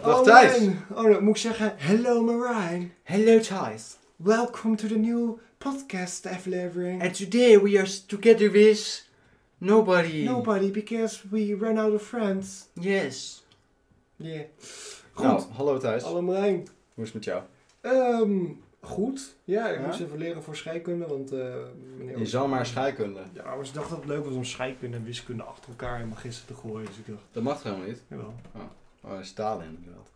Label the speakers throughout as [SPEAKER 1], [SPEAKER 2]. [SPEAKER 1] Dag
[SPEAKER 2] oh,
[SPEAKER 1] Thijs.
[SPEAKER 2] Marijn. Oh, dan moet ik zeggen, hello Marijn.
[SPEAKER 3] Hello, Thijs.
[SPEAKER 2] Welcome to the new podcast aflevering.
[SPEAKER 3] And today we are together with nobody.
[SPEAKER 2] Nobody, because we ran out of friends.
[SPEAKER 3] Yes.
[SPEAKER 2] Yeah. Goed.
[SPEAKER 1] Nou, hallo Thijs.
[SPEAKER 2] Hallo Marijn.
[SPEAKER 1] Hoe is het met jou?
[SPEAKER 2] Ehm, goed. Ja, ik
[SPEAKER 3] Ja?
[SPEAKER 2] moest even leren voor scheikunde, want eh meneer...
[SPEAKER 1] Je zou maar scheikunde.
[SPEAKER 2] Ja, maar ze dachten dat het leuk was om scheikunde en wiskunde achter elkaar in gisteren te gooien. Dus ik dacht,
[SPEAKER 1] Dat mag helemaal niet.
[SPEAKER 2] jawel.
[SPEAKER 1] Oh, Stalin inderdaad.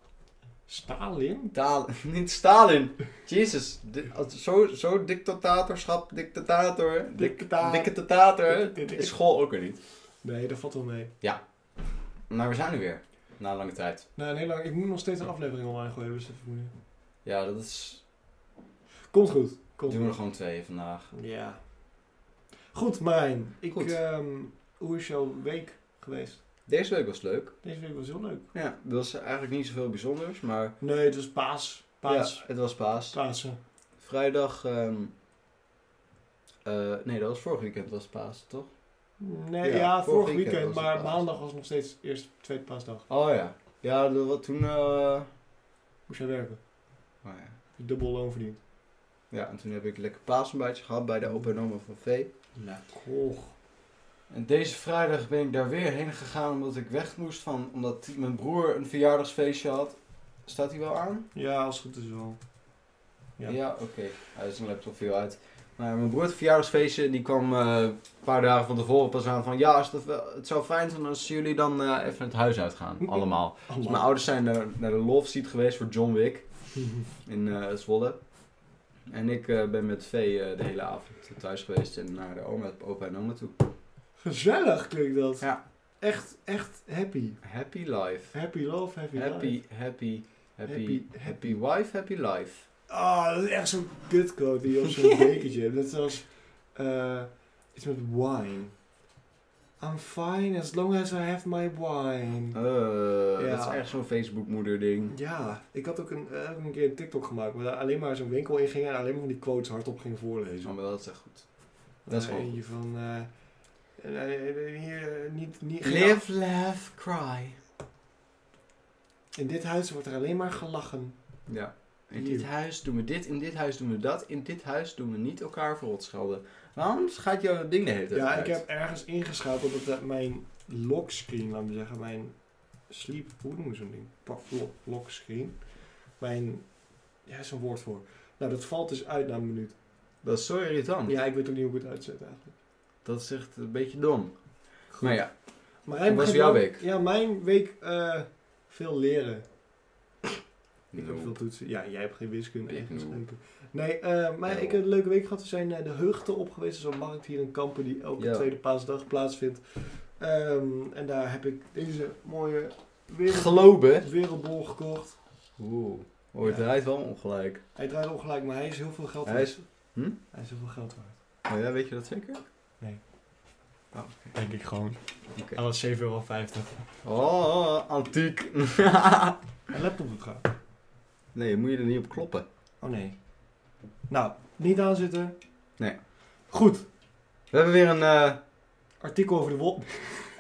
[SPEAKER 2] Stalin?
[SPEAKER 1] Stalin. niet Stalin. Jezus. Di- als- Zo, zo dictatorschap, dictator. Dik,
[SPEAKER 2] Dictata-
[SPEAKER 1] dictator. Is school ook weer niet.
[SPEAKER 2] Nee, dat valt wel mee.
[SPEAKER 1] Maar we zijn er weer. Na lange tijd.
[SPEAKER 2] Nou, nee, lang, ik moet nog steeds een aflevering online gooien, dus even moeilijk.
[SPEAKER 1] Ja, dat is...
[SPEAKER 2] Komt goed. Komt goed.
[SPEAKER 1] Doen we er gewoon twee vandaag.
[SPEAKER 2] Ja. Goed, Marijn. Ik,
[SPEAKER 1] Goed.
[SPEAKER 2] ehm, hoe is jouw week geweest?
[SPEAKER 1] Deze week was leuk.
[SPEAKER 2] Deze week was heel leuk.
[SPEAKER 1] Ja, dat was eigenlijk niet zoveel bijzonders, maar...
[SPEAKER 2] Nee, het was paas. Paas.
[SPEAKER 1] Ja, het was paas.
[SPEAKER 2] Pasen.
[SPEAKER 1] Vrijdag... ehm, eh, nee, dat was vorig weekend was paas, toch?
[SPEAKER 2] Nee, ja,
[SPEAKER 1] Ja,
[SPEAKER 2] vorig
[SPEAKER 1] vorig
[SPEAKER 2] weekend,
[SPEAKER 1] weekend was het
[SPEAKER 2] maar
[SPEAKER 1] paas.
[SPEAKER 2] maandag was nog steeds eerst tweede paasdag.
[SPEAKER 1] Oh ja. Ja, dat, wat toen... eh,
[SPEAKER 2] Moest jij werken.
[SPEAKER 1] Oh ja.
[SPEAKER 2] Dubbel loon verdiend.
[SPEAKER 1] Ja, en toen heb ik lekker paasontbijtje gehad bij de opa en oma van Vee.
[SPEAKER 2] Lekker.
[SPEAKER 1] En deze vrijdag ben ik daar weer heen gegaan omdat ik weg moest van... Omdat mijn broer een verjaardagsfeestje had. Staat hij wel aan?
[SPEAKER 2] Ja, als het goed is wel. Ja.
[SPEAKER 1] Ja, oké. Hij is een laptop veel uit. Maar mijn broer had een verjaardagsfeestje en die kwam eh, een paar dagen van tevoren pas aan van... Ja, als het, wel- het zou fijn zijn als jullie dan eh, even het huis uitgaan. Allemaal. Dus mijn ouders zijn naar, naar de Love Seat geweest voor John Wick in eh, Zwolle. En ik eh, ben met Vee eh, de hele avond thuis geweest en naar de oma, opa en oma toe.
[SPEAKER 2] Gezellig klinkt dat.
[SPEAKER 1] Ja.
[SPEAKER 2] Echt, echt happy.
[SPEAKER 1] Happy life.
[SPEAKER 2] Happy love, happy, life.
[SPEAKER 1] Happy, happy, happy,
[SPEAKER 2] Happy-
[SPEAKER 1] happy wife, happy life.
[SPEAKER 2] Ah, dat is echt zo'n kutquote die je op zo'n bekertje hebt. Net zoals eh, iets met wine. I'm fine as long as I have my wine.
[SPEAKER 1] Eh,
[SPEAKER 2] Ja.
[SPEAKER 1] Dat is echt zo'n Facebookmoeder ding.
[SPEAKER 2] Ja, ik had ook een, eh, heb ik een keer een TikTok gemaakt waar daar alleen maar zo'n winkel in ging en alleen maar van die quotes hardop ging voorlezen.
[SPEAKER 1] Maar dat is echt goed. Oh, dat is
[SPEAKER 2] Eh,
[SPEAKER 1] gewoon
[SPEAKER 2] eentje van. eh, eh, eh, hier, eh, niet, niet, geen-
[SPEAKER 3] Live, laugh, cry.
[SPEAKER 2] In dit huis wordt er alleen maar gelachen.
[SPEAKER 1] Ja. In
[SPEAKER 2] Hier.
[SPEAKER 1] dit huis doen we dit, in dit huis doen we dat, in dit huis doen we niet elkaar verrot schelden. Waarom gaat jouw ding de hele tijd
[SPEAKER 2] Ja,
[SPEAKER 1] uit?
[SPEAKER 2] ik heb ergens ingeschakeld dat eh, mijn lockscreen, laat me zeggen, mijn sleep, hoe noemen ze zo'n ding? Pak- lo- Lockscreen. Mijn, ja, is een woord voor. Nou, dat valt dus uit na een minuut.
[SPEAKER 1] Dat is zo irritant.
[SPEAKER 2] Ja, ik weet ook niet hoe ik het uitzet eigenlijk.
[SPEAKER 1] Dat is echt een beetje dom. Maar ja,
[SPEAKER 2] Maar
[SPEAKER 1] Hoe was jouw week?
[SPEAKER 2] Ja, mijn week eh, veel leren. Ik heb
[SPEAKER 1] no.
[SPEAKER 2] veel toetsen. Ja, jij hebt geen wiskunde.
[SPEAKER 1] Ik
[SPEAKER 2] echt
[SPEAKER 1] noem.
[SPEAKER 2] scheikunde. Nee, eh, maar ik heb een leuke week gehad. We zijn naar de heugte op geweest. Dat is een markt hier in Kampen die elke
[SPEAKER 1] Ja.
[SPEAKER 2] tweede paasdag plaatsvindt. Ehm, en daar heb ik deze mooie wereld,
[SPEAKER 1] Geloben.
[SPEAKER 2] wereldbol gekocht.
[SPEAKER 1] Oeh. Oh, het
[SPEAKER 2] Ja.
[SPEAKER 1] draait wel ongelijk.
[SPEAKER 2] Hij draait ongelijk, maar hij is heel veel geld
[SPEAKER 1] Hij
[SPEAKER 2] waard.
[SPEAKER 1] is- hm?
[SPEAKER 2] Hij is heel veel geld waard.
[SPEAKER 1] Oh ja, weet je dat zeker?
[SPEAKER 2] Denk ik gewoon.
[SPEAKER 1] Oké.
[SPEAKER 2] Hij was 7,50 euro.
[SPEAKER 1] Oh, antiek.
[SPEAKER 2] Een laptop doet gaan.
[SPEAKER 1] nee, moet je er niet op kloppen.
[SPEAKER 2] Oh nee. Nou, niet aanzitten.
[SPEAKER 1] Nee.
[SPEAKER 2] Goed.
[SPEAKER 1] We hebben weer een eh,
[SPEAKER 2] Artikel over de wol.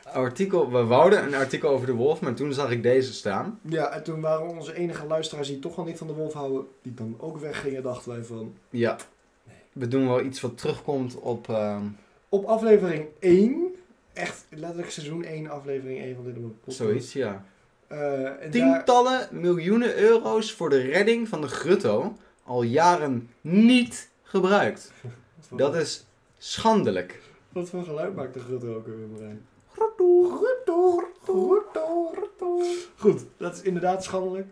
[SPEAKER 1] artikel. We wouden een artikel over de wolf, maar toen zag ik deze staan.
[SPEAKER 2] Ja, en toen waren onze enige luisteraars die toch al niet van de wolf houden, die dan ook weggingen, dachten wij van.
[SPEAKER 1] Ja. We doen wel iets wat terugkomt op. ehm,
[SPEAKER 2] Op aflevering 1, echt letterlijk seizoen 1, aflevering 1 van dit podcast.
[SPEAKER 1] zoiets, ja.
[SPEAKER 2] Eh, en daar-
[SPEAKER 1] Tientallen miljoenen euro's voor de redding van de grutto. Al jaren niet gebruikt.
[SPEAKER 2] Wat voor-
[SPEAKER 1] Dat is schandelijk.
[SPEAKER 2] Wat voor geluid maakt de grut ook weer, Marijn? Goed, dat is inderdaad schandelijk.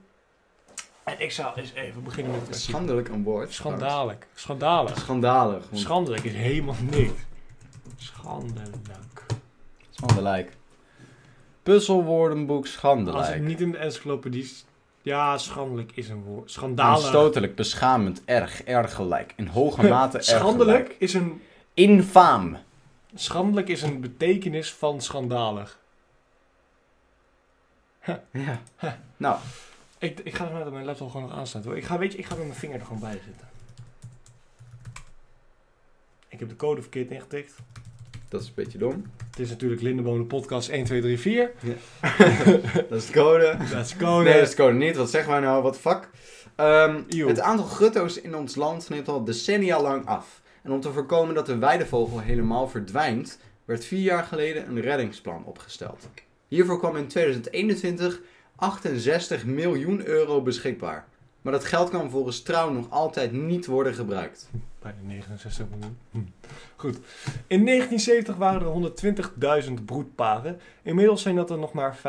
[SPEAKER 2] En ik zou eens even beginnen met
[SPEAKER 1] Schandelijk een woord.
[SPEAKER 2] Schandalig. Schandalig.
[SPEAKER 1] Schandalig. want-
[SPEAKER 2] Schandelijk is helemaal niks. Schandelijk.
[SPEAKER 1] Schandelijk. Puzzelwoordenboek
[SPEAKER 2] Als het
[SPEAKER 1] schandelijk.
[SPEAKER 2] niet in de encyclopedie... s- Ja, schandelijk is een woord. Schandalig.
[SPEAKER 1] Aanstotelijk, beschamend, erg, ergelijk. In hoge mate erg.
[SPEAKER 2] Schandelijk is een...
[SPEAKER 1] Infaam.
[SPEAKER 2] Schandelijk is een betekenis van schandalig.
[SPEAKER 1] Ja. Nou,
[SPEAKER 2] Ik, ik ga ervan uit dat mijn laptop gewoon nog aanstaat hoor. Ik ga, weet je, ik ga met mijn vinger er gewoon bij zitten. Ik heb de code verkeerd ingetikt.
[SPEAKER 1] Dat is een beetje dom.
[SPEAKER 2] Het is natuurlijk Lindeboom de podcast 1, 2, 3, 4.
[SPEAKER 1] Dat is de code.
[SPEAKER 2] Let's go.
[SPEAKER 1] Nee, dat is de code niet. Wat zeggen wij nou? Wat fuck? Ehm,
[SPEAKER 2] Eeuw.
[SPEAKER 1] het aantal gutto's in ons land neemt al decennia lang af. En om te voorkomen dat de weidevogel helemaal verdwijnt, werd vier jaar geleden een reddingsplan opgesteld. Hiervoor kwam in 2021 68 miljoen euro beschikbaar. Maar dat geld kan volgens trouw nog altijd niet worden gebruikt.
[SPEAKER 2] Bijna 69 miljoen. Hm. Goed. In 1970 waren er 120.000 broedparen. Inmiddels zijn dat er nog maar 25.000.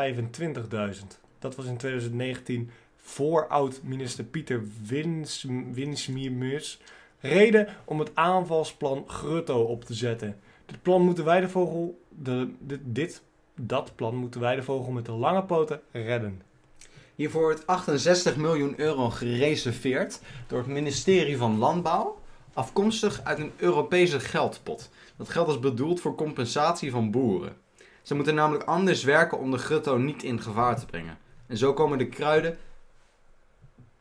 [SPEAKER 2] Dat was in 2019 voor oud-minister Pieter Wins- Winsmiers reden om het aanvalsplan Grutto op te zetten. Dit plan moet de weidevogel... De, dit, dit, dat plan moet de weidevogel met de lange poten redden.
[SPEAKER 1] Hiervoor wordt 68 miljoen euro gereserveerd door het ministerie van Landbouw, afkomstig uit een Europese geldpot. Dat geld is bedoeld voor compensatie van boeren. Ze moeten namelijk anders werken om de grutto niet in gevaar te brengen. En zo komen de kruiden.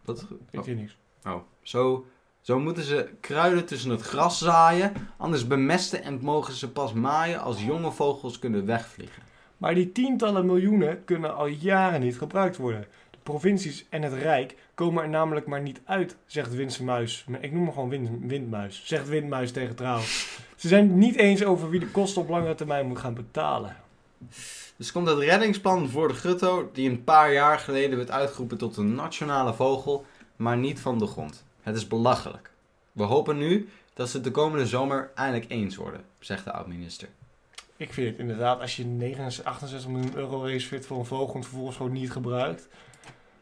[SPEAKER 1] Wat?
[SPEAKER 2] Ik weet niks.
[SPEAKER 1] Oh, zo, zo moeten ze kruiden tussen het gras zaaien, anders bemesten en mogen ze pas maaien als jonge vogels kunnen wegvliegen.
[SPEAKER 2] Maar die tientallen miljoenen kunnen al jaren niet gebruikt worden. De provincies en het Rijk komen er namelijk maar niet uit, zegt Windmuis. Ik noem hem gewoon Wind- Windmuis. Zegt Windmuis tegen Trouw. Ze zijn het niet eens over wie de kosten op langere termijn moet gaan betalen.
[SPEAKER 1] Dus komt het reddingsplan voor de grutto, die een paar jaar geleden werd uitgeroepen tot een nationale vogel, maar niet van de grond. Het is belachelijk. We hopen nu dat ze het de komende zomer eindelijk eens worden, zegt de oud-minister.
[SPEAKER 2] Ik vind het inderdaad, als je 69, 68 miljoen euro reserveert voor een vogel en vervolgens gewoon niet gebruikt.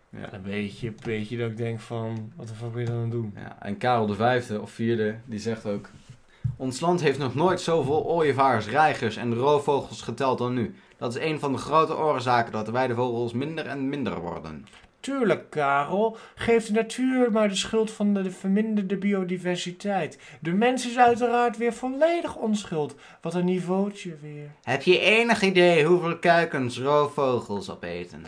[SPEAKER 1] Ja.
[SPEAKER 2] Een beetje, beetje dat ik denk van, wat de fuck ben je dan aan het doen?
[SPEAKER 1] Ja, en Karel V of vierde, die zegt ook... Ons land heeft nog nooit zoveel ooievaars, reigers en roofvogels geteld dan nu. Dat is een van de grote oorzaken dat de weidevogels minder en minder worden.
[SPEAKER 2] Tuurlijk, Karel. Geef de natuur maar de schuld van de verminderde biodiversiteit. De mens is uiteraard weer volledig onschuld. Wat een niveautje weer.
[SPEAKER 1] Heb je enig idee hoeveel kuikens roofvogels opeten?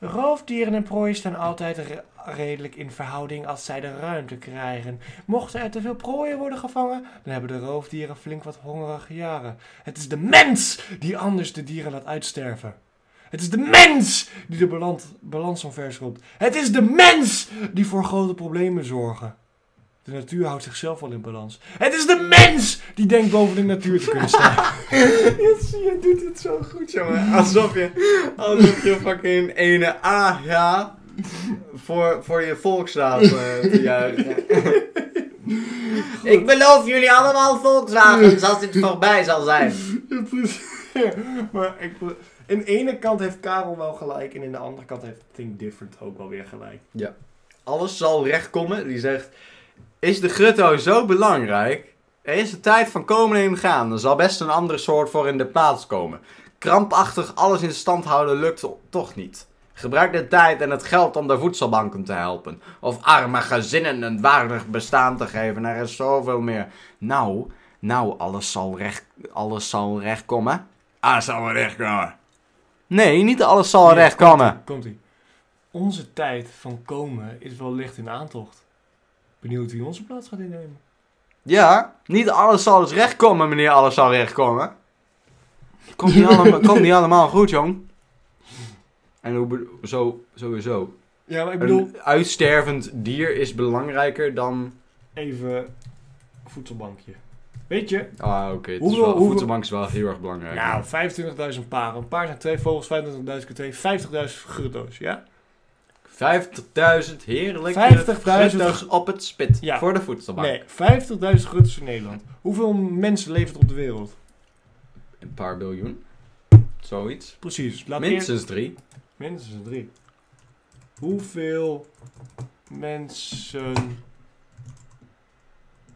[SPEAKER 2] Roofdieren en prooien staan altijd re- redelijk in verhouding als zij de ruimte krijgen. Mochten er te veel prooien worden gevangen, dan hebben de roofdieren flink wat hongerige jaren. Het is de mens die anders de dieren laat uitsterven. Het is de mens die de balans, balans omverschropt. Het is de mens die voor grote problemen zorgen. De natuur houdt zichzelf wel in balans. Het is de mens die denkt boven de natuur te kunnen staan.
[SPEAKER 1] Je doet het zo goed, jongen. Alsof je, alsof je fucking ene AH voor, voor je volksdaad te juichen.
[SPEAKER 3] Ik beloof jullie allemaal Volkswagens als dit voorbij zal zijn.
[SPEAKER 2] Ja, precies. Ja, maar ik, in de ene kant heeft Karel wel gelijk en in de andere kant heeft Think Different ook wel weer gelijk.
[SPEAKER 1] Alles zal recht komen. Die zegt: Is de grutto zo belangrijk? Er is de tijd van komen en gaan. Er zal best een andere soort voor in de plaats komen. Krampachtig alles in stand houden lukt toch niet. Gebruik de tijd en het geld om de voedselbanken te helpen. Of arme gezinnen een waardig bestaan te geven. Er is zoveel meer. Nou, nou, alles zal recht, alles zal recht komen. Alles Ah, zal recht komen. Nee, niet alles zal
[SPEAKER 2] Ja,
[SPEAKER 1] recht komen.
[SPEAKER 2] Komt ie. Onze tijd van komen is wel licht in aantocht. Benieuwd wie onze plaats gaat innemen.
[SPEAKER 1] Ja, niet alles zal dus recht komen, meneer alles zal recht komen. Komt niet allemaal, komt niet allemaal goed, jong. En hoe bedo- zo, sowieso.
[SPEAKER 2] Ja, maar ik bedoel,
[SPEAKER 1] Een uitstervend dier is belangrijker dan...
[SPEAKER 2] even voedselbankje. Weet je?
[SPEAKER 1] Ah, oké. Okay,
[SPEAKER 2] Hoeveel- hoeveel-
[SPEAKER 1] voedselbank is wel heel erg belangrijk.
[SPEAKER 2] Nou, 25.000 paren. Een paar zijn twee vogels, 25.000 keer twee, 50.000 grutto's, ja?
[SPEAKER 1] 50.000 heerlijke
[SPEAKER 2] 50.000
[SPEAKER 1] 50.000 op het spit
[SPEAKER 2] Ja.
[SPEAKER 1] voor de voedselbank.
[SPEAKER 2] Nee, 50.000 grutto's in Nederland. Hoeveel mensen levert het op de wereld?
[SPEAKER 1] Een paar biljoen. Zoiets.
[SPEAKER 2] Precies. Laat eerst-
[SPEAKER 1] Minstens drie.
[SPEAKER 2] Minstens drie. Hoeveel mensen.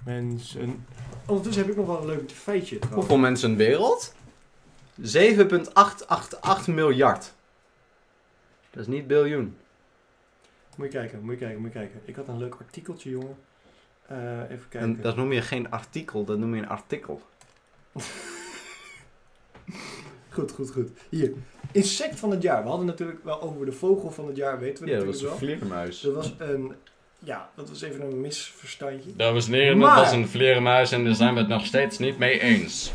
[SPEAKER 2] Mensen. Ondertussen heb ik nog wel een leuk feitje. trouwens.
[SPEAKER 1] Hoeveel mensen in de wereld? 7,888 miljard. Dat is niet biljoen.
[SPEAKER 2] Moet je kijken, moet je kijken, moet je kijken. Ik had een leuk artikeltje, jongen. Eh, even kijken.
[SPEAKER 1] En dat noem je geen artikel, dat noem je een artikel.
[SPEAKER 2] Goed, goed, goed. Hier. Insect van het jaar. We hadden natuurlijk wel over de vogel van het jaar, weten we
[SPEAKER 1] Ja, dat
[SPEAKER 2] natuurlijk
[SPEAKER 1] was een
[SPEAKER 2] wel.
[SPEAKER 1] vleermuis.
[SPEAKER 2] Dat was een. Ja, dat was even een misverstandje.
[SPEAKER 1] Dames en
[SPEAKER 2] heren, dat Maar- was een
[SPEAKER 1] vleermuis en daar zijn we het nog steeds niet mee eens.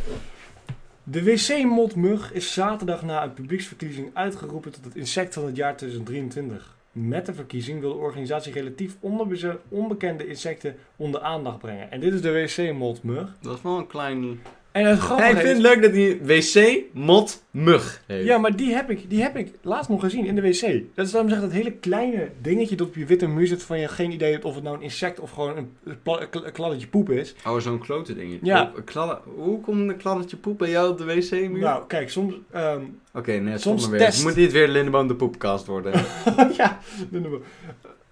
[SPEAKER 2] De wc-motmug is zaterdag na een publieksverkiezing uitgeroepen tot het insect van het jaar 2023. Met de verkiezing wil de organisatie relatief onderbe- onbekende insecten onder aandacht brengen. En dit is de wc-motmug.
[SPEAKER 1] Dat is wel een klein...
[SPEAKER 2] En het grappige
[SPEAKER 1] ik vind
[SPEAKER 2] is-
[SPEAKER 1] het leuk dat hij wc mot mug heet.
[SPEAKER 2] Ja, maar die heb, ik, die heb ik laatst nog gezien in de wc. Dat is dan zeg dat hele kleine dingetje dat op je witte muur zit van je geen idee hebt of het nou een insect of gewoon een, pla- een kla- een kladdetje poep is.
[SPEAKER 1] Oh, zo'n klote dingetje.
[SPEAKER 2] Ja.
[SPEAKER 1] Oh, een kladde- Hoe komt een kladdetje poep bij jou op de wc-muur?
[SPEAKER 2] Nou, kijk, soms... ehm,
[SPEAKER 1] Oké, nee, stop
[SPEAKER 2] Soms
[SPEAKER 1] maar weer.
[SPEAKER 2] test.
[SPEAKER 1] Moet dit weer Lindeboom de poepkast worden?
[SPEAKER 2] ja, dat noemen we.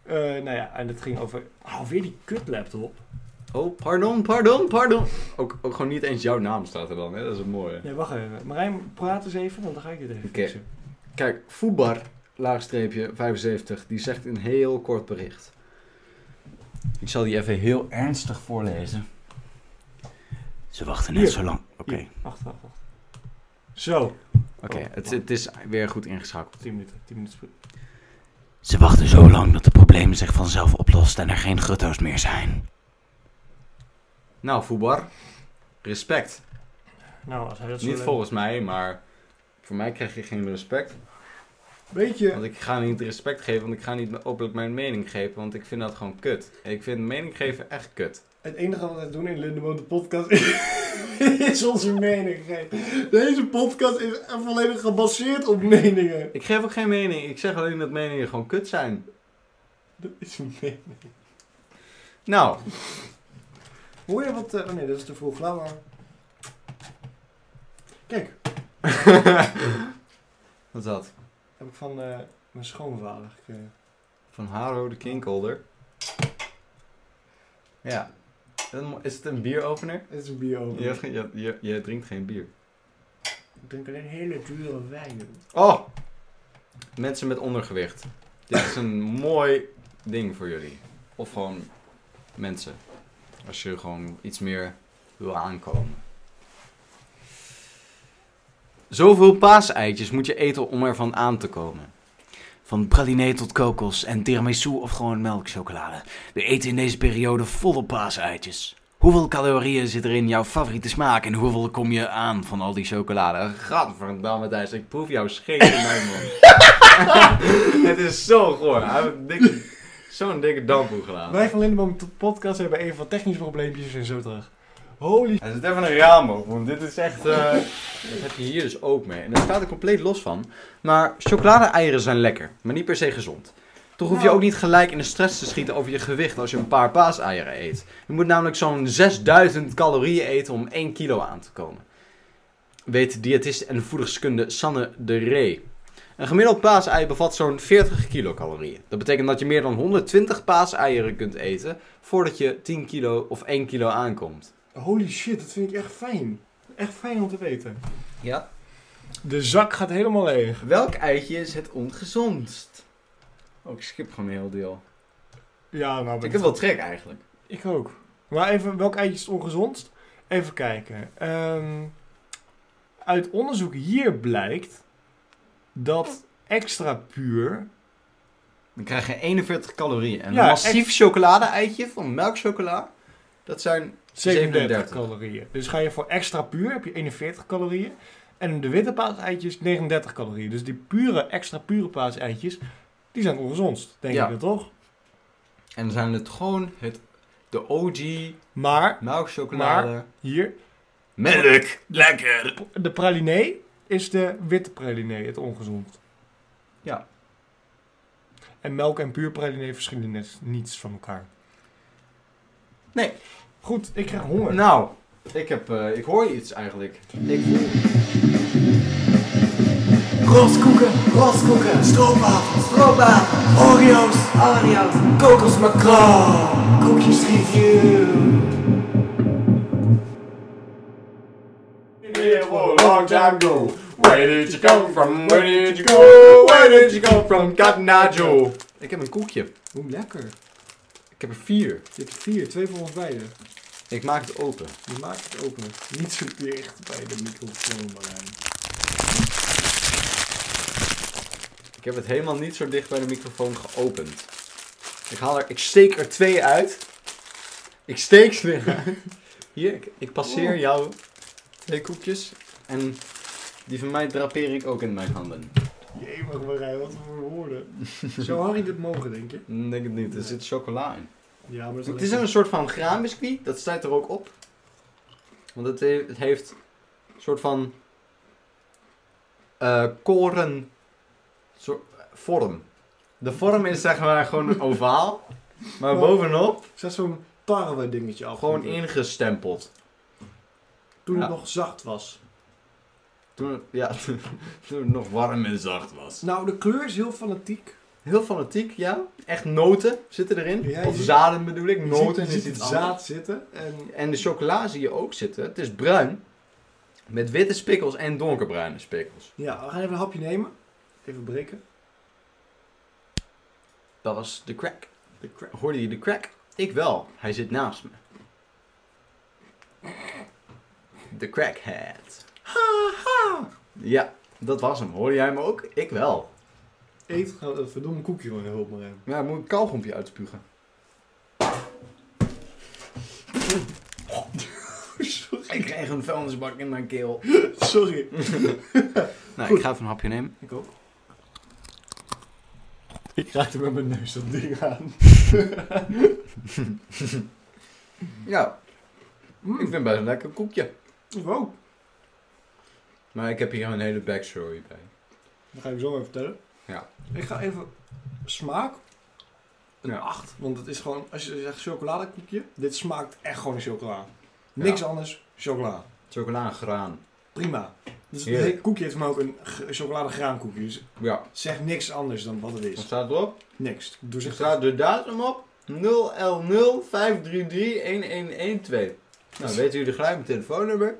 [SPEAKER 2] Eh, nou ja, en het ging over... Oh, weer die kut laptop.
[SPEAKER 1] oh, pardon, pardon, pardon. Ook, ook gewoon niet eens jouw naam staat er dan, hè? Dat is het mooie.
[SPEAKER 2] Nee, wacht even. Marijn, praat eens even, want dan ga ik dit even
[SPEAKER 1] Oké.
[SPEAKER 2] fixen.
[SPEAKER 1] Kijk, Voetbar, laagstreepje 75, die zegt een heel kort bericht. Ik zal die even heel ernstig voorlezen. Ze wachten
[SPEAKER 2] net Hier.
[SPEAKER 1] zo lang. Oké.
[SPEAKER 2] Hier, Wacht, wacht, wacht. Zo.
[SPEAKER 1] Oké, het, het is weer goed ingeschakeld.
[SPEAKER 2] 10 minuten, 10 minuten. sp-
[SPEAKER 4] Ze wachten zo lang dat de problemen zich vanzelf oplossen en er geen gutto's meer zijn.
[SPEAKER 1] Nou, Voetbar, respect.
[SPEAKER 2] Nou, als hij dat zo
[SPEAKER 1] Niet
[SPEAKER 2] leuk-
[SPEAKER 1] volgens mij, maar voor mij krijg je geen respect.
[SPEAKER 2] Weet je...
[SPEAKER 1] Want ik ga niet respect geven, want ik ga niet openlijk mijn mening geven, want ik vind dat gewoon kut. Ik vind mening geven echt kut.
[SPEAKER 2] Het enige wat we doen in Lindeboom de podcast is onze mening geven. Deze podcast is volledig gebaseerd op meningen.
[SPEAKER 1] Ik geef ook geen mening, ik zeg alleen dat meningen gewoon kut zijn.
[SPEAKER 2] Dat is een mening.
[SPEAKER 1] Nou,
[SPEAKER 2] Hoor je wat... eh, oh nee, dat is te vroeg. Laat maar. Kijk,
[SPEAKER 1] wat is dat?
[SPEAKER 2] heb ik van eh, mijn schoonvader gekregen.
[SPEAKER 1] Van Haro de Kinkolder. Ja. Een mo- Is het een bieropener?
[SPEAKER 2] Het is een bio.
[SPEAKER 1] Je, hebt ge- je, je, je drinkt geen bier.
[SPEAKER 2] Ik drink alleen hele dure wijn.
[SPEAKER 1] Oh! Mensen met ondergewicht. Dit is een mooi ding voor jullie. Of gewoon mensen. Als je gewoon iets meer wil aankomen. Zoveel paaseitjes moet je eten om ervan aan te komen.
[SPEAKER 4] Van praliné tot kokos en tiramisu of gewoon melkchocolade. We eten in deze periode volop paaseitjes. Hoeveel calorieën zit er in jouw favoriete smaak en hoeveel kom je aan van al die chocolade?
[SPEAKER 1] Gadverdamme Thijs, ik proef jouw scheet in mijn mond. het is zo goor. Hij heeft een dikke- zo'n dikke dampoe gedaan.
[SPEAKER 2] Wij van Lindeboom de podcast hebben even wat technische probleempjes en zo terug. Holy...
[SPEAKER 1] Hij zit even een raam op, want dit is echt... eh, Dat heb je hier dus ook mee. En daar staat er compleet los van. Maar chocolade-eieren zijn lekker, maar niet per se gezond. Toch hoef je ook niet gelijk in de stress te schieten over je gewicht als je een paar paaseieren eet. Je moet namelijk zo'n 6000 calorieën eten om 1 kilo aan te komen. Weet diëtist en voedingskunde Sanne de Ree. Een gemiddeld paasei bevat zo'n 40 kilocalorieën. Dat betekent dat je meer dan 120 paaseieren kunt eten voordat je 10 kilo of 1 kilo aankomt.
[SPEAKER 2] Holy shit, dat vind ik echt fijn. Echt fijn om te weten.
[SPEAKER 1] Ja,
[SPEAKER 2] De zak gaat helemaal leeg.
[SPEAKER 1] Welk eitje is het ongezondst? Oh, ik skip gewoon een heel deel.
[SPEAKER 2] Ja, nou...
[SPEAKER 1] Ik heb wel trek eigenlijk.
[SPEAKER 2] Ik ook. Maar even, welk eitje is het ongezondst? Even kijken. Ehm, uit onderzoek hier blijkt dat extra puur...
[SPEAKER 1] Dan krijg je 41 calorieën. En
[SPEAKER 2] Ja,
[SPEAKER 1] een massief chocolade-eitje van melkchocola, dat zijn...
[SPEAKER 2] 37
[SPEAKER 1] 37
[SPEAKER 2] calorieën. Dus ga je voor extra puur, heb je 41 calorieën. En de witte paaseitjes 39 calorieën. Dus die pure, extra pure paaseitjes, die zijn ongezondst, denk
[SPEAKER 1] Ja.
[SPEAKER 2] ik wel, toch?
[SPEAKER 1] En zijn het gewoon het, de OG
[SPEAKER 2] Maar
[SPEAKER 1] melkchocolade.
[SPEAKER 2] hier,
[SPEAKER 1] Melk, lekker!
[SPEAKER 2] de pralinee is de witte pralinee, het ongezond.
[SPEAKER 1] Ja.
[SPEAKER 2] En melk en puur pralinee verschillen net niets van elkaar.
[SPEAKER 1] Nee.
[SPEAKER 2] Goed, ik krijg honger.
[SPEAKER 1] Nou, ik, heb, eh, ik hoor iets eigenlijk. Ik
[SPEAKER 3] Roskoeken, roskoeken, stroopwafels, stroopwafels, Oreo's, Oreo's, kokos macron, Nou, oh, koekjes review.
[SPEAKER 2] It was
[SPEAKER 1] a long time
[SPEAKER 2] ago.
[SPEAKER 1] Where did you come from? Where did you go? Where did you come from? Cotton Eye Joe. Ik heb een koekje.
[SPEAKER 2] Hoe lekker.
[SPEAKER 1] Ik heb er vier.
[SPEAKER 2] Je hebt vier, twee voor ons beiden.
[SPEAKER 1] Ik maak het open.
[SPEAKER 2] Je maakt het open. Niet zo dicht bij de microfoon, Marijn.
[SPEAKER 1] Ik heb het helemaal niet zo dicht bij de microfoon geopend. Ik, haal er, ik steek er twee uit. Ik steek ze eruit. Hier, ik, ik passeer jou twee koekjes. En die van mij drapeer ik ook in mijn handen.
[SPEAKER 2] Jee, maar Marijn, wat voor woorden. Zou Harry dit mogen, denk je?
[SPEAKER 1] Ik denk het niet, er zit chocola in.
[SPEAKER 2] Ja, maar dat
[SPEAKER 1] Dus Het is een soort van graanbiscuit, dat staat er ook op. Want het, he- het heeft een soort van eh, koren soort- vorm. De vorm is zeg maar gewoon een ovaal, maar
[SPEAKER 2] Oh.
[SPEAKER 1] bovenop
[SPEAKER 2] Zet zo'n tarwe dingetje af.
[SPEAKER 1] gewoon ingestempeld.
[SPEAKER 2] Toen het
[SPEAKER 1] Ja.
[SPEAKER 2] nog zacht was.
[SPEAKER 1] Toen het, ja, toen het nog warm en zacht was.
[SPEAKER 2] Nou, de kleur is heel fanatiek.
[SPEAKER 1] Heel fanatiek, ja. Echt noten zitten erin.
[SPEAKER 2] Ja, je
[SPEAKER 1] of
[SPEAKER 2] ziet-
[SPEAKER 1] zaden bedoel ik,
[SPEAKER 2] Je
[SPEAKER 1] noten
[SPEAKER 2] ziet, je
[SPEAKER 1] is
[SPEAKER 2] ziet
[SPEAKER 1] iets
[SPEAKER 2] het
[SPEAKER 1] anders.
[SPEAKER 2] zaad zitten. En
[SPEAKER 1] En de chocola zie je ook zitten. Het is bruin. Met witte spikkels en donkerbruine spikkels.
[SPEAKER 2] ja, we gaan even een hapje nemen. Even breken.
[SPEAKER 1] Dat was de crack.
[SPEAKER 2] De crap.
[SPEAKER 1] Hoorde je de crack? Ik wel. Hij zit naast me. De crackhead. Ja, dat was hem. Hoorde jij hem ook? Ik wel.
[SPEAKER 2] Eet gewoon een verdomme koekje gewoon hulp maar in.
[SPEAKER 1] Ja, moet ik kauwgompje uitspugen. Ik kreeg een vuilnisbak in mijn keel.
[SPEAKER 2] Sorry.
[SPEAKER 4] Nou,
[SPEAKER 2] Goed.
[SPEAKER 4] ik ga even een hapje nemen.
[SPEAKER 2] Ik ook. Ik raakte met mijn neus dat ding aan.
[SPEAKER 1] Ja, ik
[SPEAKER 2] Mm,
[SPEAKER 1] vind het best een lekker koekje.
[SPEAKER 2] ik ook.
[SPEAKER 1] Maar ik heb hier een hele backstory bij.
[SPEAKER 2] Dat ga ik zo even vertellen.
[SPEAKER 1] Ja.
[SPEAKER 2] Ik ga even smaak. Een
[SPEAKER 1] Ja.
[SPEAKER 2] 8. Want het is gewoon, als je zegt chocoladekoekje, dit smaakt echt gewoon chocola. Niks anders, chocola.
[SPEAKER 1] Chocola en graan.
[SPEAKER 2] Prima. Dus het
[SPEAKER 1] Heerlijk.
[SPEAKER 2] hele koekje heeft maar ook een g- chocoladegraankoekje. Dus
[SPEAKER 1] Ja,
[SPEAKER 2] zeg niks anders dan wat het
[SPEAKER 1] wat
[SPEAKER 2] is.
[SPEAKER 1] staat erop?
[SPEAKER 2] Niks. Doe
[SPEAKER 1] Er
[SPEAKER 2] zich
[SPEAKER 1] staat de datum op. 0L053311112. Nou, weten jullie gelijk mijn telefoonnummer?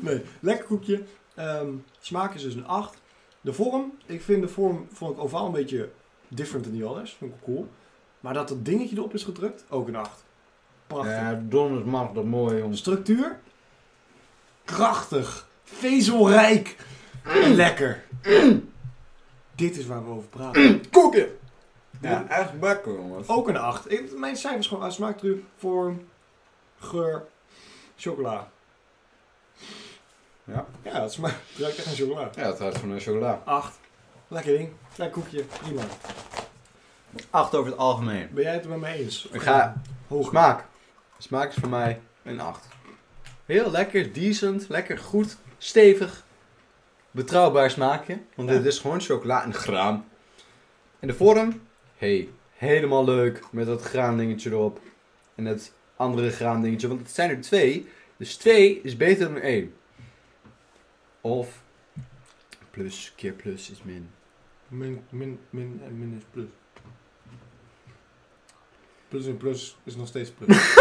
[SPEAKER 2] Nee, lekker koekje. Ehm, smaak is dus een 8. De vorm, ik vind de vorm vond ik ovaal een beetje different dan die anders. Vond ik cool. Maar dat dat dingetje erop is gedrukt, ook een 8. Prachtig.
[SPEAKER 1] Ja, donders mag dat mooi, jongens.
[SPEAKER 2] Structuur? Krachtig. Vezelrijk. Lekker. Dit is waar we over praten.
[SPEAKER 1] Koeken!
[SPEAKER 2] Ja,
[SPEAKER 1] echt lekker, jongens.
[SPEAKER 2] Ook een 8. Ik- Mijn cijfers gewoon aan smaakdruk, vorm, geur, chocola.
[SPEAKER 1] Ja.
[SPEAKER 2] Ja, het smaakt het ruikt echt naar chocola.
[SPEAKER 1] Ja, het gaat van een chocola.
[SPEAKER 2] 8. Lekker ding. Lekker koekje. Prima.
[SPEAKER 1] 8 over het algemeen.
[SPEAKER 2] Ben jij het er met me eens?
[SPEAKER 1] Ik ga.
[SPEAKER 2] Hoog.
[SPEAKER 1] Smaak. Smaak is voor mij een 8. Heel lekker, decent, lekker goed, stevig. Betrouwbaar smaakje. Want
[SPEAKER 2] Ja.
[SPEAKER 1] dit is gewoon chocola en graan. En de vorm? hey, helemaal leuk. Met dat graandingetje erop. En dat andere graandingetje. Want het zijn er twee. Dus twee is beter dan één. Of plus keer plus is min.
[SPEAKER 2] Min, min, min en min is plus. Plus en plus is nog steeds plus.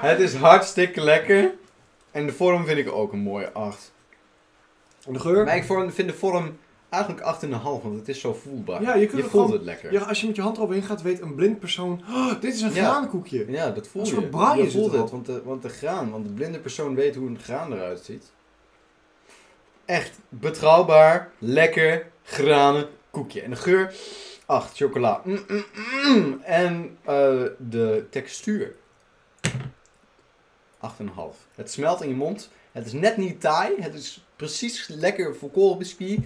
[SPEAKER 1] Het is hartstikke lekker. En de vorm vind ik ook een mooie 8.
[SPEAKER 2] En de geur?
[SPEAKER 1] Maar ik vorm- vind de vorm eigenlijk 8,5, want het is zo voelbaar.
[SPEAKER 2] Ja, je kunt
[SPEAKER 1] je
[SPEAKER 2] het
[SPEAKER 1] voelt
[SPEAKER 2] gewoon-
[SPEAKER 1] het lekker.
[SPEAKER 2] Ja, als je met je hand erop heen gaat, weet een blind persoon... "Oh, dit is een
[SPEAKER 1] Ja.
[SPEAKER 2] graankoekje.
[SPEAKER 1] Ja, dat voel
[SPEAKER 2] Een
[SPEAKER 1] je.
[SPEAKER 2] soort braai
[SPEAKER 1] je
[SPEAKER 2] is het
[SPEAKER 1] voelt
[SPEAKER 2] wel.
[SPEAKER 1] het, want de, want de graan, want de blinde persoon weet hoe een graan eruit ziet. Echt betrouwbaar, lekker, granen, koekje. En de geur, 8, chocola. Mm, mm, mm. En eh, de textuur, 8,5. Het smelt in je mond. Het is net niet taai. Het is precies lekker volkoren biscuit.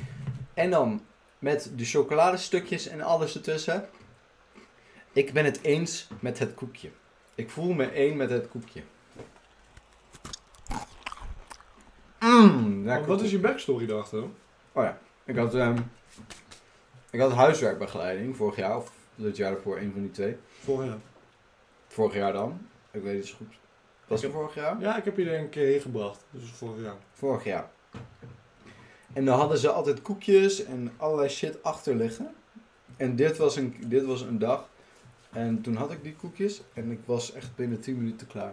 [SPEAKER 1] En dan met de chocoladestukjes en alles ertussen. Ik ben het eens met het koekje. Ik voel me één met het koekje. Mm,
[SPEAKER 2] Maar
[SPEAKER 1] lekker
[SPEAKER 2] Oh, wat is je
[SPEAKER 1] koekje.
[SPEAKER 2] backstory erachter?
[SPEAKER 1] Oh ja, ik had, ehm, ik had huiswerkbegeleiding vorig jaar, of het jaar ervoor, een van die twee.
[SPEAKER 2] Vorig jaar.
[SPEAKER 1] Vorig jaar dan, ik weet niet zo goed. Was
[SPEAKER 2] Ik
[SPEAKER 1] het vorig jaar?
[SPEAKER 2] Ja, ik heb je er een keer heen gebracht. Dus vorig jaar.
[SPEAKER 1] Vorig jaar. En dan hadden ze altijd koekjes en allerlei shit achter liggen. En dit was, een, dit was een dag. En toen had ik die koekjes en ik was echt binnen 10 minuten klaar.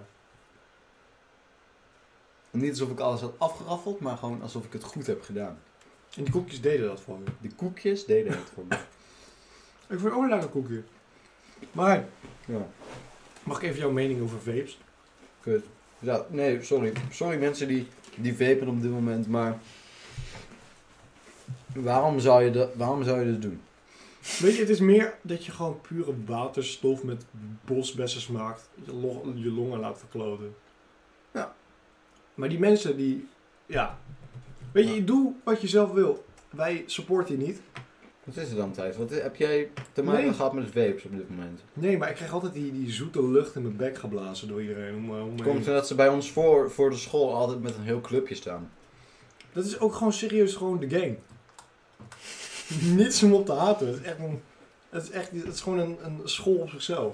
[SPEAKER 1] Niet alsof ik alles had afgeraffeld, maar gewoon alsof ik het goed heb gedaan.
[SPEAKER 2] En die koekjes deden dat voor je.
[SPEAKER 1] De koekjes deden het voor me.
[SPEAKER 2] Ik vind het ook een lekker koekje. Maar,
[SPEAKER 1] Ja.
[SPEAKER 2] mag ik even jouw mening over vapes?
[SPEAKER 1] Kut. Ja, nee, sorry. Sorry mensen die, die vapen op dit moment, maar... Waarom zou je dat, waarom zou je dat doen?
[SPEAKER 2] Weet je, het is meer dat je gewoon pure waterstof met bosbessen smaakt. Je, lo- je longen laat verkloten. Maar die mensen die, ja. Weet je, doe wat je zelf wil. Wij supporten je niet.
[SPEAKER 1] Wat is er dan, Thijs? Wat is- heb jij te maken
[SPEAKER 2] Nee.
[SPEAKER 1] gehad met vapes op dit moment?
[SPEAKER 2] Nee, maar ik krijg altijd die, die zoete lucht in mijn bek geblazen door iedereen. Om, eh, om me
[SPEAKER 1] Komt
[SPEAKER 2] heen.
[SPEAKER 1] omdat ze bij ons voor, voor de school altijd met een heel clubje staan.
[SPEAKER 2] Dat is ook gewoon serieus gewoon de game. Niets om op te haten. Het is echt, een, het is echt het is gewoon een, een school op zichzelf.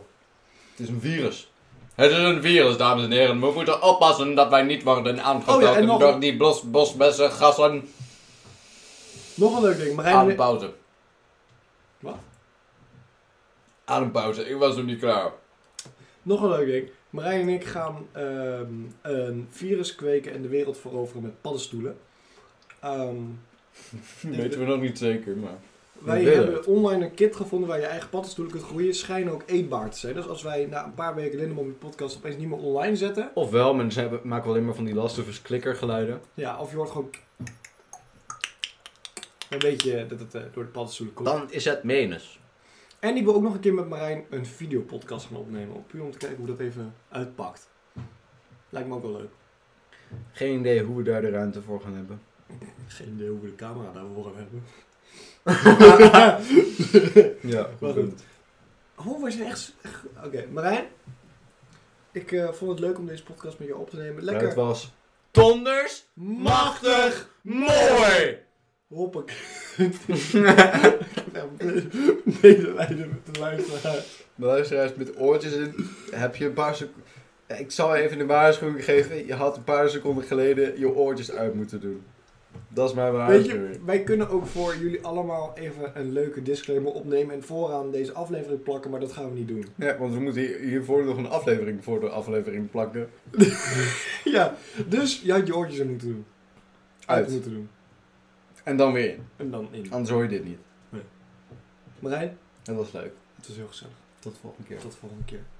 [SPEAKER 1] Het is een virus. Het is een virus, dames en heren. We moeten oppassen dat wij niet worden
[SPEAKER 2] Oh ja, en nog- door
[SPEAKER 1] die bos, bosbessen, gassen
[SPEAKER 2] Nog een leuk ding. Marijn, en-
[SPEAKER 1] pauze.
[SPEAKER 2] Wat?
[SPEAKER 1] Aan een pauze, ik was nog niet klaar.
[SPEAKER 2] nog een leuk ding. Marijn en ik gaan ehm, een virus kweken en de wereld veroveren met paddenstoelen. Ehm,
[SPEAKER 1] Weten we nog niet zeker, maar...
[SPEAKER 2] wij
[SPEAKER 1] Wereld.
[SPEAKER 2] hebben online een kit gevonden waar je eigen paddenstoelen kunt groeien. Schijnen ook eetbaar te zijn. Dus als wij na een paar weken Lindeman de podcast opeens niet meer online zetten.
[SPEAKER 1] Ofwel, mensen hebben, maken alleen maar van die Last of Us klikkergeluiden.
[SPEAKER 2] Ja, of je hoort gewoon... Dan weet je dat het eh, door de paddenstoelen komt.
[SPEAKER 1] Dan is het menens.
[SPEAKER 2] En ik wil ook nog een keer met Marijn een videopodcast gaan opnemen. om- Puur om te kijken hoe dat even uitpakt. Lijkt me ook wel leuk.
[SPEAKER 1] Geen idee hoe we daar de ruimte voor gaan hebben.
[SPEAKER 2] Geen idee hoe we de camera daarvoor gaan hebben.
[SPEAKER 1] Ja,
[SPEAKER 2] Maar goed. Oh, we zijn echt... echt- Oké, Marijn. Ik eh, vond het leuk om deze podcast met jou op te nemen.
[SPEAKER 1] Lekker.
[SPEAKER 2] Lekker.
[SPEAKER 1] Het was... Donders
[SPEAKER 2] Machtig.
[SPEAKER 1] mooi!
[SPEAKER 2] Hoppakee. Medelijden met de luisteraar.
[SPEAKER 1] De luisteraars met oortjes in, heb je een paar seconden... Ik zal even een waarschuwing geven. Je had een paar seconden geleden je oortjes uit moeten doen. Dat is mijn
[SPEAKER 2] Weet
[SPEAKER 1] waarschuwing.
[SPEAKER 2] je, wij kunnen ook voor jullie allemaal even een leuke disclaimer opnemen. En vooraan deze aflevering plakken, maar dat gaan we niet doen.
[SPEAKER 1] Ja, want we moeten hier- hiervoor nog een aflevering voor de aflevering plakken.
[SPEAKER 2] Ja, dus je had je oortjes in moeten doen. Uit.
[SPEAKER 1] Uit. Oh.
[SPEAKER 2] moeten doen.
[SPEAKER 1] En dan weer in.
[SPEAKER 2] En dan in.
[SPEAKER 1] Anders hoor je dit niet.
[SPEAKER 2] Marijn,
[SPEAKER 1] Dat was leuk.
[SPEAKER 2] het was heel gezellig.
[SPEAKER 1] Tot de volgende keer.
[SPEAKER 2] Tot de volgende keer.